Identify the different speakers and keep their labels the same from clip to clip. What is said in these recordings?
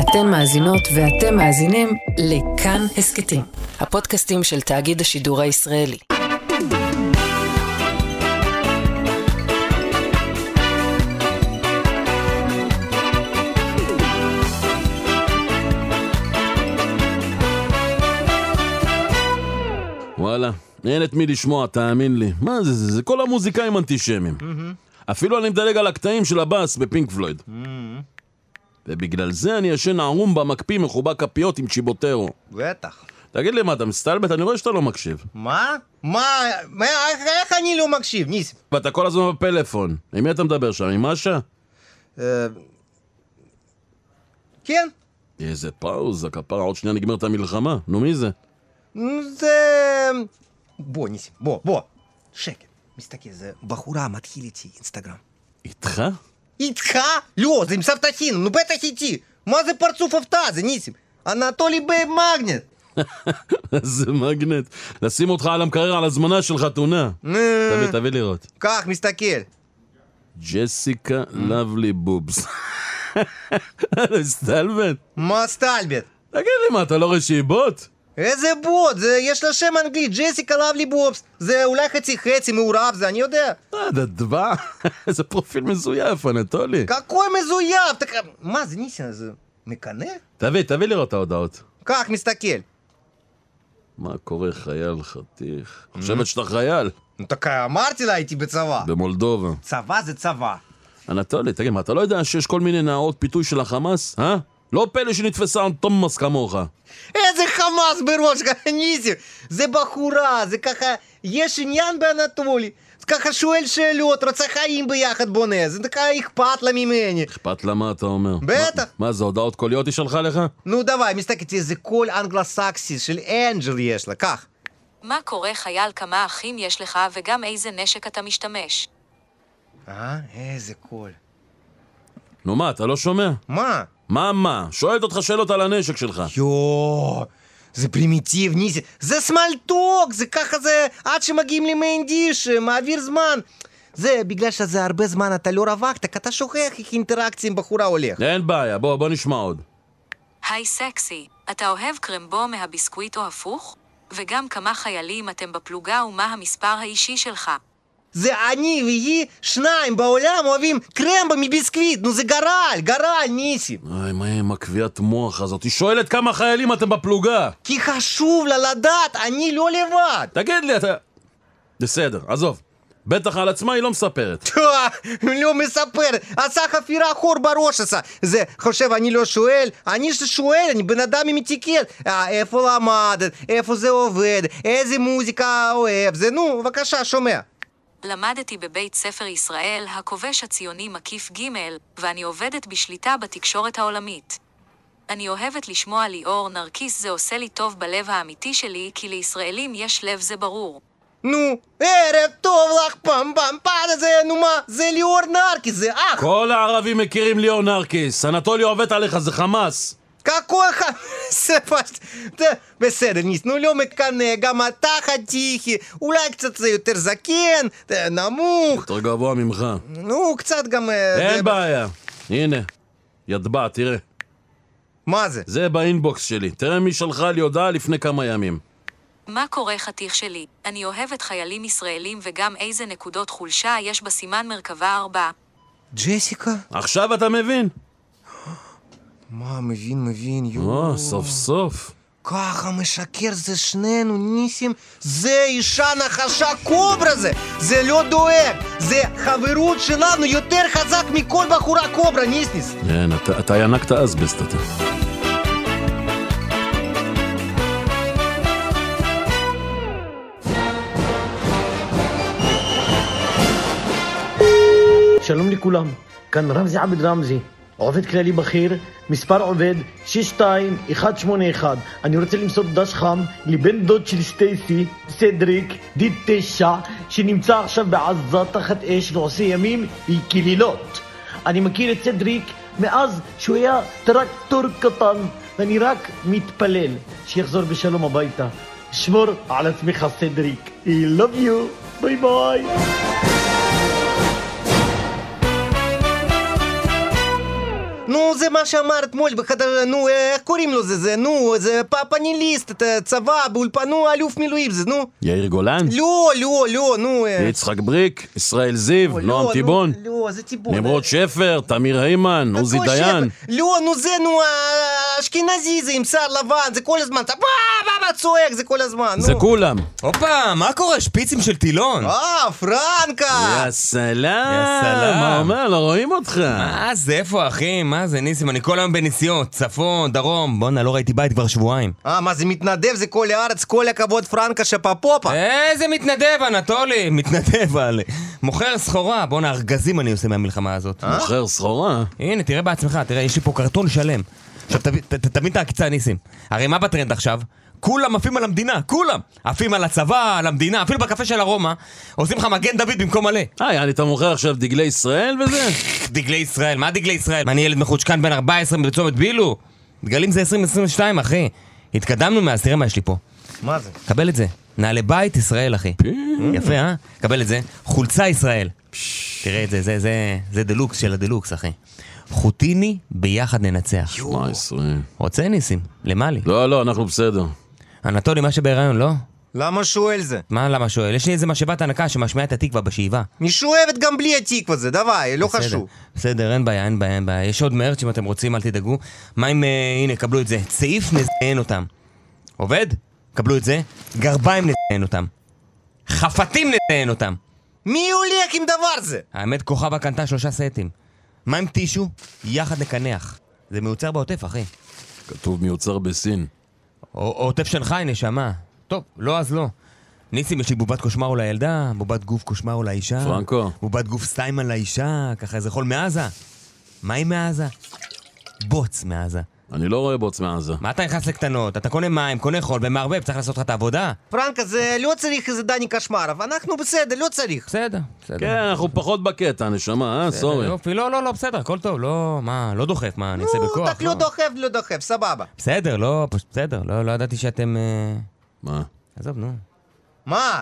Speaker 1: אתן מאזינות ואתם מאזינים לכאן הסכתים, הפודקאסטים של תאגיד השידור הישראלי.
Speaker 2: וואלה, אין את מי לשמוע, תאמין לי. מה זה, זה, זה כל המוזיקאים אנטישמים. אפילו אני מדלג על הקטעים של הבאס בפינק פלויד. ובגלל זה אני ישן ערום במקפיא מחובק כפיות עם צ'יבוטרו.
Speaker 3: בטח.
Speaker 2: תגיד לי מה, אתה מסתלבט? אני רואה שאתה לא מקשיב.
Speaker 3: מה? מה? מה? איך- איך אני לא מקשיב, ניסים?
Speaker 2: ואתה כל הזמן בפלאפון. עם מי אתה מדבר שם? עם משה?
Speaker 3: אה, כן?
Speaker 2: איזה פאוזה, כפרה, עוד שנייה נגמרת המלחמה. נו, מי זה?
Speaker 3: נו, זה... בוא, ניסים, בוא, בוא. שקט. מסתכל, זה בחורה מתחיל איתי אינסטגרם.
Speaker 2: איתך?
Speaker 3: איתך? לא, זה עם סבתא חינה, נו בטח איתי. מה זה פרצוף הפתעה? זה ניסים. אנטולי בי מגנט.
Speaker 2: זה מגנט. נשים אותך על המקרר על הזמנה של חתונה.
Speaker 3: נו,
Speaker 2: תביא, תביא לראות.
Speaker 3: כך, מסתכל.
Speaker 2: ג'סיקה לבלי בובס. אתה מסתלבט?
Speaker 3: מה סטלבט?
Speaker 2: תגיד לי מה, אתה לא רואה שהיא בוט?
Speaker 3: איזה בוט, זה, יש לה שם אנגלית, ג'סיקה לבלי בובס. זה אולי חצי חצי מעורב, זה אני יודע.
Speaker 2: אה, דדבה. איזה פרופיל מזויף, אנטולי.
Speaker 3: Какой мезуяв? Так, а, мазнися за мекане?
Speaker 2: תביא, תביא לראות את ההודעות.
Speaker 3: Как, мистакель?
Speaker 2: מה קורה, חייל חתיך? חושבת שאתה חייל.
Speaker 3: Ну такая Мартина и тебе цава.
Speaker 2: במולדובה.
Speaker 3: Цава за цава.
Speaker 2: אנטולי, תגיד, מה, אתה לא יודע שיש כל מיני נאות פיתוי של החמאס? אה? לא פלא שנתפסה תומאס כמוך.
Speaker 3: איזה חמאס בראש, ניסים! זה בחורה, זה ככה, יש עניין באנטולי. זה ככה שואל שאלות, רוצה חיים ביחד בונה, זה ככה אכפת לה ממני.
Speaker 2: אכפת לה מה אתה אומר.
Speaker 3: בטח.
Speaker 2: מה- מה, זה הודעות קוליות היא שלחה לך?
Speaker 3: נו דוואי, מסתכלת, איזה קול אנגלסקסי של אנג'ל יש לה, כך.
Speaker 4: מה קורה חייל כמה אחים יש לך וגם איזה נשק אתה משתמש?
Speaker 3: אה, איזה קול.
Speaker 2: נו מה, אתה לא שומע?
Speaker 3: מה?
Speaker 2: מה, מה? שואלת אותך שאלות על הנשק שלך.
Speaker 3: יואו, זה פרימיטיבניסי, זה סמלטוק, זה ככה זה עד שמגיעים למיין דיש, מעביר זמן. זה בגלל שזה הרבה זמן אתה לא רווחת, כי אתה שוכח איך אינטראקציה עם בחורה הולך.
Speaker 2: אין בעיה, בוא, בוא נשמע עוד.
Speaker 4: היי סקסי, אתה אוהב קרמבו מהביסקוויט או הפוך? וגם כמה חיילים אתם בפלוגה ומה המספר האישי שלך?
Speaker 3: זה אני והיא, שניים בעולם אוהבים קרמבה מביסקוויט, נו זה גרל, גרל, ניסים.
Speaker 2: אוי, מה עם הקביעת מוח הזאת? היא שואלת כמה חיילים אתם בפלוגה!
Speaker 3: כי חשוב לה לדעת, אני לא לבד.
Speaker 2: תגיד לי, אתה... בסדר, עזוב. בטח על עצמה היא לא מספרת.
Speaker 3: טוב, לא מספר, עשה חפירה חור בראש עשה. זה, חושב, אני לא שואל, אני שואל, אני בן אדם עם אתיקט. אה, איפה למדת, איפה זה עובד, איזה מוזיקה אוהב, זה, נו, בבקשה, שומע.
Speaker 4: למדתי בבית ספר ישראל, הכובש הציוני מקיף ג', ואני עובדת בשליטה בתקשורת העולמית. אני אוהבת לשמוע ליאור נרקיס זה עושה לי טוב בלב האמיתי שלי, כי לישראלים יש לב זה ברור.
Speaker 3: נו, ערב טוב לך, פעם פעם פעם, זה, נו מה, זה ליאור נרקיס, זה אח.
Speaker 2: כל הערבים מכירים ליאור נרקיס, אנטולי עובד עליך, זה חמאס.
Speaker 3: Какой ха... זה פשוט- זה- בסדר, ניס, נו לא מקנא, גם אתה חתיכי, אולי קצת זה יותר זקן, אה, נמוך,
Speaker 2: יותר גבוה ממך.
Speaker 3: נו קצת גם... אה, זה-
Speaker 2: אין בעיה. הנה, ידבע, תראה.
Speaker 3: מה זה?
Speaker 2: זה באינבוקס שלי. תראה מי שלחה לי הודעה לפני כמה ימים.
Speaker 4: מה קורה חתיך שלי? אני אוהבת חיילים ישראלים וגם איזה נקודות חולשה יש בסימן מרכבה 4.
Speaker 3: ג'סיקה?
Speaker 2: עכשיו אתה מבין?
Speaker 3: מה, מבין, מבין, יואו.
Speaker 2: או, סוף סוף.
Speaker 3: ככה משקר זה שנינו, ניסים. זה אישה נחשה קוברה זה! זה לא דואג! זה חברות שלנו יותר חזק מכל בחורה קוברה, ניסניס!
Speaker 2: כן, אתה- אתה ינקת אסבסט אתה.
Speaker 5: שלום לכולם, כאן רמזי עבד רמזי, עובד כללי בכיר, מספר עובד 62181. אני רוצה למסור דש חם לבן דוד של סטייסי, סדריק, די תשע, שנמצא עכשיו בעזה תחת אש ועושה ימים כלילות. אני מכיר את סדריק מאז שהוא היה טרקטור קטן, ואני רק מתפלל שיחזור בשלום הביתה. שמור על עצמך סדריק, I love you, ביי ביי.
Speaker 3: נו, נו, זה מה שאמר אתמול בחדר, נו, אה, איך קוראים לו זה? זה, נו, זה פאפניליסט, אתה צבא, באולפנו, אלוף מילואים, זה, נו.
Speaker 2: יאיר גולן?
Speaker 3: לא, לא, לא, נו. אה,
Speaker 2: יצחק בריק? ישראל זיו?
Speaker 3: לא,
Speaker 2: נועם
Speaker 3: נו,
Speaker 2: טיבון?
Speaker 3: לא, זה טיבון.
Speaker 2: נמרוד שפר? תמיר היימן?
Speaker 3: Какой
Speaker 2: עוזי
Speaker 3: шеф? ну,
Speaker 2: דיין?
Speaker 3: לא, נו זה, נו, אה, אשכנזי זה עם שיער לבן, זה כל הזמן, אתה בא, בא, בא, צועק, זה כל הזמן, נו.
Speaker 2: זה כולם.
Speaker 6: הופה, מה קורה? שפיצים של טילון.
Speaker 3: אה, פרנקה!
Speaker 2: יא סלאם.
Speaker 6: יא סלאם.
Speaker 2: מה אומר? לא רואים אותך.
Speaker 6: מה זה, איפה אחי? מה זה, ניסים? אני כל היום בנסיעות, צפון, דרום. בואנה, לא ראיתי בית כבר שבועיים.
Speaker 3: אה, מה זה מתנדב, זה כל הארץ, כל הכבוד פרנקה שפפופה.
Speaker 6: Э? איזה מתנדב, אנטולי! מתנדב, על... מוכר סחורה. בואנה, ארגזים אני עושה מהמלחמה הזאת.
Speaker 2: מוכר סחורה?
Speaker 6: הנה, תראה בעצמך, תראה, יש לי פה קרטון שלם. עכשיו, תבין- ת- ת- תבין את העקיצה, ניסים. הרי מה בטרנד עכשיו? כולם עפים על המדינה, כולם! עפים על הצבא, על המדינה, אפילו בקפה של הרומא, עושים לך מגן דוד במקום מלא.
Speaker 2: אה, יעני, אתה מוכר עכשיו דגלי ישראל וזה?
Speaker 6: דגלי ישראל, מה דגלי ישראל? מה, אני ילד מחוצ'קן בן 14 בצומת בילו? דגלים זה 2022, אחי. התקדמנו מאז, תראה מה יש לי פה.
Speaker 3: מה זה?
Speaker 6: קבל את זה. נעלי בית ישראל, אחי. יפה, אה? קבל את זה. חולצה ישראל. תראה את זה, זה, זה, זה דה לוקס של הדה לוקס, אחי. חוטיני ביחד ננצח.
Speaker 2: שמע, ישראל.
Speaker 6: רוצה ניסים, למה לי?
Speaker 2: לא, לא, אנחנו בסדר.
Speaker 6: אנטולי, מה שבהיריון, לא?
Speaker 3: למה שואל זה?
Speaker 6: מה, למה שואל? יש לי איזה משאבת הנקה שמשמיעה את התקווה בשאיבה.
Speaker 3: היא שואבת גם בלי התקווה זה, דוואי, לא
Speaker 6: בסדר.
Speaker 3: חשוב.
Speaker 6: בסדר, אין בעיה, אין בעיה, אין בעיה. יש עוד מרץ' אם אתם רוצים, אל תדאגו. מה אם, אה, הנה, קבלו את זה. צעיף נזיין אותם. עובד? קבלו את זה. גרביים נזיין אותם. חפתים נזיין אותם.
Speaker 3: מי הולך עם דבר זה?
Speaker 6: האמת, כוכבה קנתה שלושה סטים. מה עם טישו? יחד נקנח. זה מיוצר בעוטף, אחי.
Speaker 2: כתוב מיוצר בסין.
Speaker 6: או- עוטף שנגחאי, נשמה. טוב, לא אז לא. ניסים, יש לי בובת קושמרו לילדה, בובת גוף קושמרו לאישה.
Speaker 2: פרנקו.
Speaker 6: בובת גוף סטיימן לאישה, ככה איזה חול מעזה. מה עם מעזה? בוץ מעזה.
Speaker 2: אני לא רואה בוץ מעזה.
Speaker 6: מה אתה נכנס לקטנות? אתה קונה מים, קונה חול ומערבב, צריך לעשות לך את העבודה?
Speaker 3: פרנקה, זה לא צריך איזה דני קשמרוב, אנחנו בסדר, לא צריך.
Speaker 6: בסדר, בסדר.
Speaker 2: כן, אנחנו פחות בקטע, נשמה, אה?
Speaker 6: בסדר,
Speaker 2: סורי.
Speaker 6: יופי, לא, לא, לא, בסדר, הכל טוב, לא, מה, לא דוחף, מה, אני אעשה
Speaker 3: נו,
Speaker 6: בכוח?
Speaker 3: Ну, так לא דוחף, לא דוחף, סבבה.
Speaker 6: בסדר, לא, פשוט בסדר, לא, לא ידעתי שאתם... אה,
Speaker 2: מה?
Speaker 6: עזוב, נו.
Speaker 3: מה?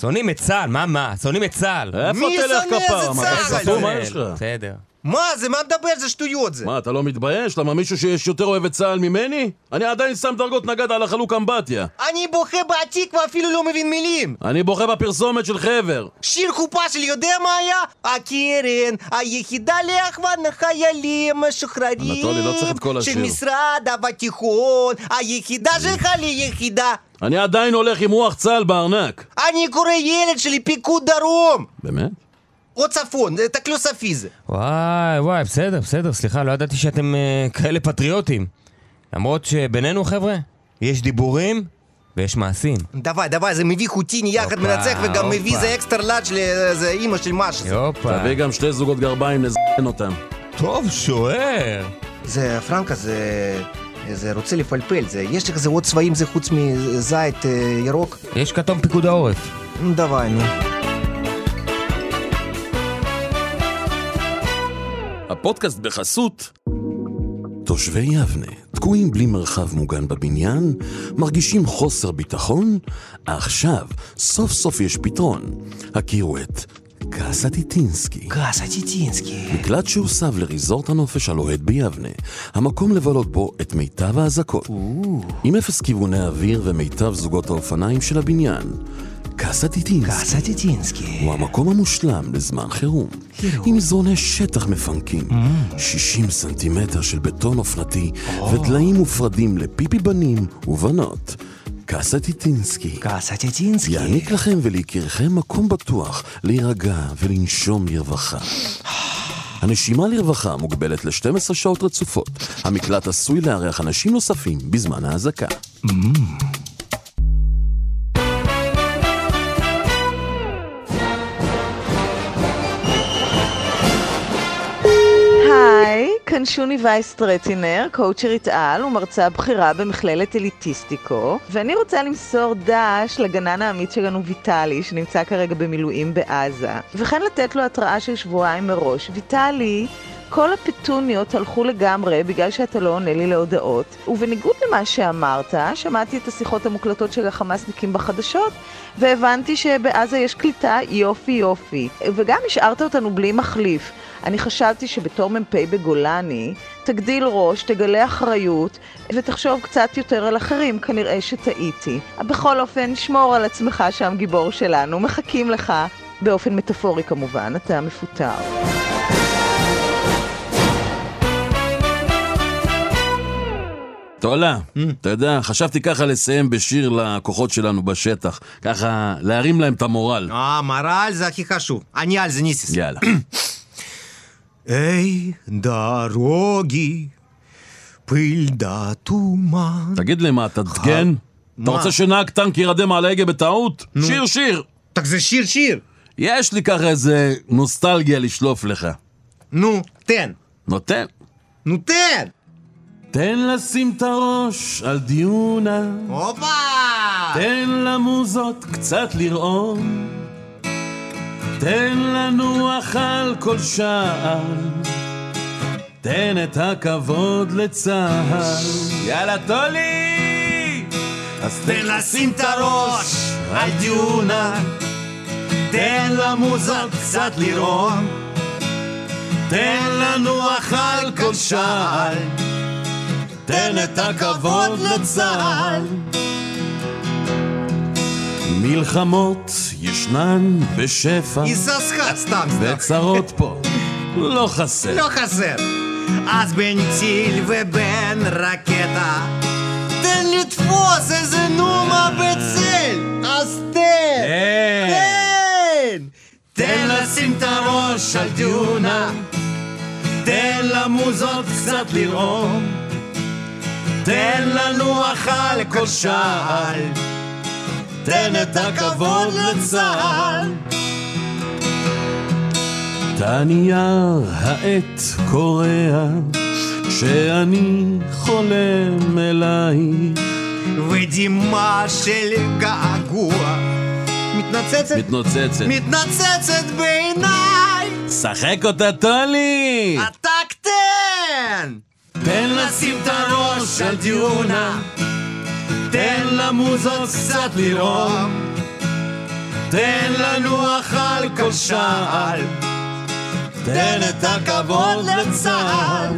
Speaker 6: שונאים את צה"ל, מה, מה? שונאים את צה"ל.
Speaker 2: איפה
Speaker 3: מי
Speaker 2: תלך
Speaker 3: שונא
Speaker 2: כפרה?
Speaker 3: איזה
Speaker 2: אה, מה, אתה
Speaker 3: צה"ל?
Speaker 2: סתום, מה
Speaker 6: בסדר,
Speaker 2: יש לך?
Speaker 6: בסדר.
Speaker 3: מה זה, מה מדבר זה שטויות זה?
Speaker 2: מה, אתה לא מתבייש? למה מישהו שיש יותר אוהב את צה"ל ממני? אני עדיין שם דרגות נגד על החלוק אמבטיה.
Speaker 3: אני בוכה בתקווה, אפילו לא מבין מילים.
Speaker 2: אני בוכה בפרסומת של חבר.
Speaker 3: שיר חופה של יודע מה היה? הקרן, היחידה להכוון חיילים משוחררים
Speaker 2: אנטולי, לא צריך את כל
Speaker 3: של
Speaker 2: השיר.
Speaker 3: משרד הביטחון, היחידה שלך ליחידה.
Speaker 2: אני עדיין הולך עם רוח צה"ל בארנק.
Speaker 3: אני קורא ילד שלי פיקוד דרום,
Speaker 2: באמת?
Speaker 3: או צפון, זה תקלוסופי זה.
Speaker 6: וואי, וואי, בסדר, בסדר, סליחה, לא ידעתי שאתם אה, כאלה פטריוטים. למרות שבינינו, חבר'ה, יש דיבורים ויש מעשים.
Speaker 3: דוואי, דוואי, זה מביא חוטיני יחד
Speaker 6: הופה,
Speaker 3: מנצח וגם מביא
Speaker 6: הופה.
Speaker 3: זה אקסטר לאג' לאיזה אימא של משהו.
Speaker 6: יופה.
Speaker 2: תביא גם שתי זוגות גרביים, נזיין אותם.
Speaker 6: טוב, שוער.
Speaker 3: זה פרנקה, זה... זה רוצה לפלפל, זה, יש לך איזה עוד צבעים זה חוץ מזית אה, ירוק?
Speaker 6: יש כתום פיקוד העורף.
Speaker 3: Ну, Давай, ну.
Speaker 2: הפודקאסט בחסות. תושבי יבנה תקועים בלי מרחב מוגן בבניין, מרגישים חוסר ביטחון, עכשיו סוף סוף יש פתרון. הכירו את קאסה טיטינסקי.
Speaker 3: Газ, Атитинский.
Speaker 2: מקלט שהוסב לריזורט הנופש הלוהט ביבנה, המקום לבלות בו את מיטב האזעקות, עם אפס כיווני אוויר ומיטב זוגות האופניים של הבניין. קאסה טיטינסקי.
Speaker 3: Газ, Атитинский.
Speaker 2: הוא המקום המושלם לזמן חירום. Mm. עם מזרוני שטח מפנקים, 60 סנטימטר של בטון אופנתי וטלאים מופרדים לפיפי בנים ובנות. קאסה טיטינסקי
Speaker 3: Газ, Атитинский.
Speaker 2: יעניק לכם וליקירכם מקום בטוח להירגע ולנשום לרווחה. הנשימה לרווחה מוגבלת ל-12 שעות רצופות. המקלט עשוי לארח אנשים נוספים בזמן האזעקה.
Speaker 7: היי, כאן שוני וייס טרטינר, קואוצ'רית על ומרצה בכירה במכללת אליטיסטיקו, ואני רוצה למסור דש לגנן האמיץ שלנו ויטלי, שנמצא כרגע במילואים בעזה, וכן לתת לו התראה של שבועיים מראש. ויטלי, כל הפטוניות הלכו לגמרי בגלל שאתה לא עונה לי להודעות, ובניגוד למה שאמרת, שמעתי את השיחות המוקלטות של החמאסניקים בחדשות, והבנתי שבעזה יש קליטה יופי יופי, וגם השארת אותנו בלי מחליף. אני חשבתי שבתור מ"פ בגולני, תגדיל ראש, תגלה אחריות, ותחשוב קצת יותר על אחרים, כנראה שטעיתי. בכל אופן, שמור על עצמך שם, גיבור שלנו, מחכים לך. באופן מטאפורי כמובן, אתה מפוטר.
Speaker 2: תולה, אתה יודע, חשבתי ככה לסיים בשיר לכוחות שלנו בשטח. ככה להרים להם את המורל.
Speaker 3: המורל אה, זה הכי חשוב. אני על זה ניסיס.
Speaker 2: יאללה.
Speaker 3: Эй, дороги, пыль да туман.
Speaker 2: תגיד לי, מה, אתה דגן? אתה
Speaker 3: מה?
Speaker 2: רוצה שנהג טנק יירדם על ההגה בטעות? שיר, שיר.
Speaker 3: Так זה שיר שיר.
Speaker 2: יש לי ככה איזה נוסטלגיה לשלוף לך.
Speaker 3: נו, תן.
Speaker 2: נותן.
Speaker 3: נו, תן.
Speaker 2: תן לשים את הראש על דיונה,
Speaker 3: הופה!
Speaker 2: תן למוזות קצת לרעום, תן לנוח על כל שעל, תן את הכבוד לצה"ל. יאללה, טולי! אז תן לשים את הראש על דיונה, תן למוזות קצת לרעום, תן לנוח על כל שעל, תן את הכבוד לצה"ל. מלחמות ישנן בשפע,
Speaker 3: יססך סתם סתם.
Speaker 2: וצרות פה לא חסר.
Speaker 3: לא חסר. אז בין טיל ובין רקטה, תן לתפוס איזה נומה בצל. אז תן. תן.
Speaker 2: תן לשים את הראש על דיונה, תן למוזות קצת לרעום, תן לנוח על לא כל שעל, תן את הכבוד לצה"ל. תנייר העט קורע, כשאני חולם אלייך.
Speaker 3: ודמעה של געגוע מתנצצת,
Speaker 2: מתנוצצת.
Speaker 3: מתנצצת בעיניי,
Speaker 2: שחק אותה טולי!
Speaker 5: А
Speaker 3: אתה קטן!
Speaker 2: תן לשים את הראש על דיונה, תן למוזות קצת לרעום, תן לנוח על כל שעל, תן את הכבוד לצה"ל.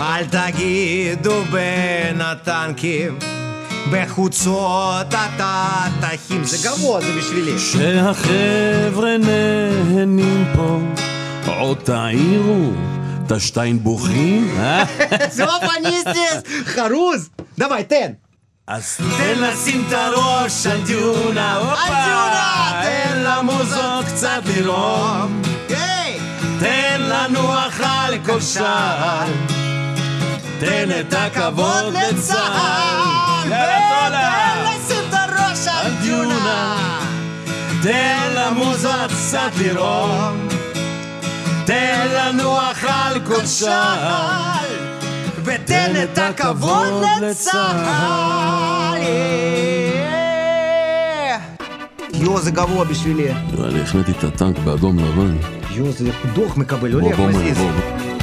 Speaker 3: אל תגידו בין הטנקים, בחוצות התותחים. זה גבוה, זה בשבילי.
Speaker 2: כשהחבר'ה נהנים פה, עוד תעירו את השטיינבוכים, אה?
Speaker 3: זה אופניסטס! חרוז! דבי, תן!
Speaker 2: אז תן לשים את הראש על דיונה, הופה!
Speaker 3: דיונה!
Speaker 2: תן למוזות קצת לרעום.
Speaker 3: היי!
Speaker 2: תן לנוח על כל שעל, תן את הכבוד לצה"ל. יאללה
Speaker 3: ותן
Speaker 2: טולה!
Speaker 3: לשים את הראש על
Speaker 2: על דיונה.
Speaker 3: דיונה!
Speaker 2: תן למוזות קצת לרעום, תן לנוח על כל שעל.
Speaker 3: ותן את הכבוד לצה"ל. יואו, זה גרוע בשבילי.
Speaker 2: נראה לי החניתי את הטנק באדום לבן.
Speaker 3: יואו, זה דוח מקבל, לא
Speaker 2: בוא, בוא,
Speaker 3: מזיז.
Speaker 2: בוא, בוא.